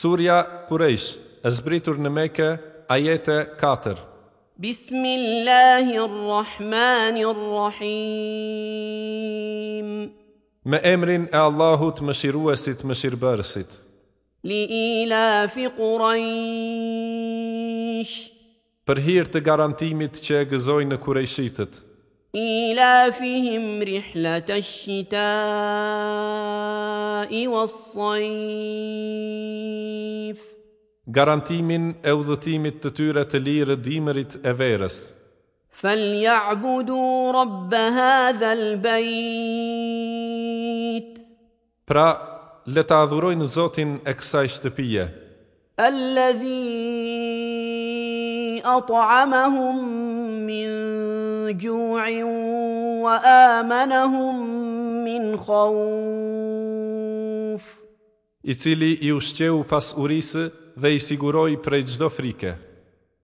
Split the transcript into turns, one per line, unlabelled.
Surja Quraysh, e zbritur në Mekë, ajete 4.
بسم الله الرحمن الرحيم
Me emrin e Allahut Mëshiruesit Mëshirbërësit.
لإيلاف قريش
Për hir të garantimit që e gëzojnë në Qurayshitët,
إيلافهم رحلة الشتاء والصيف
garantimin e udhëtimit të tyre të lirë dimërit e verës.
فليعبدوا رب هذا البيت
Pra, le ta adhurojnë Zotin e kësaj shtëpie,
الذي أطعمهم من جوع وآمنهم من خوف
i cili i ushqeu pas urisë dhe i siguroi prej çdo frike.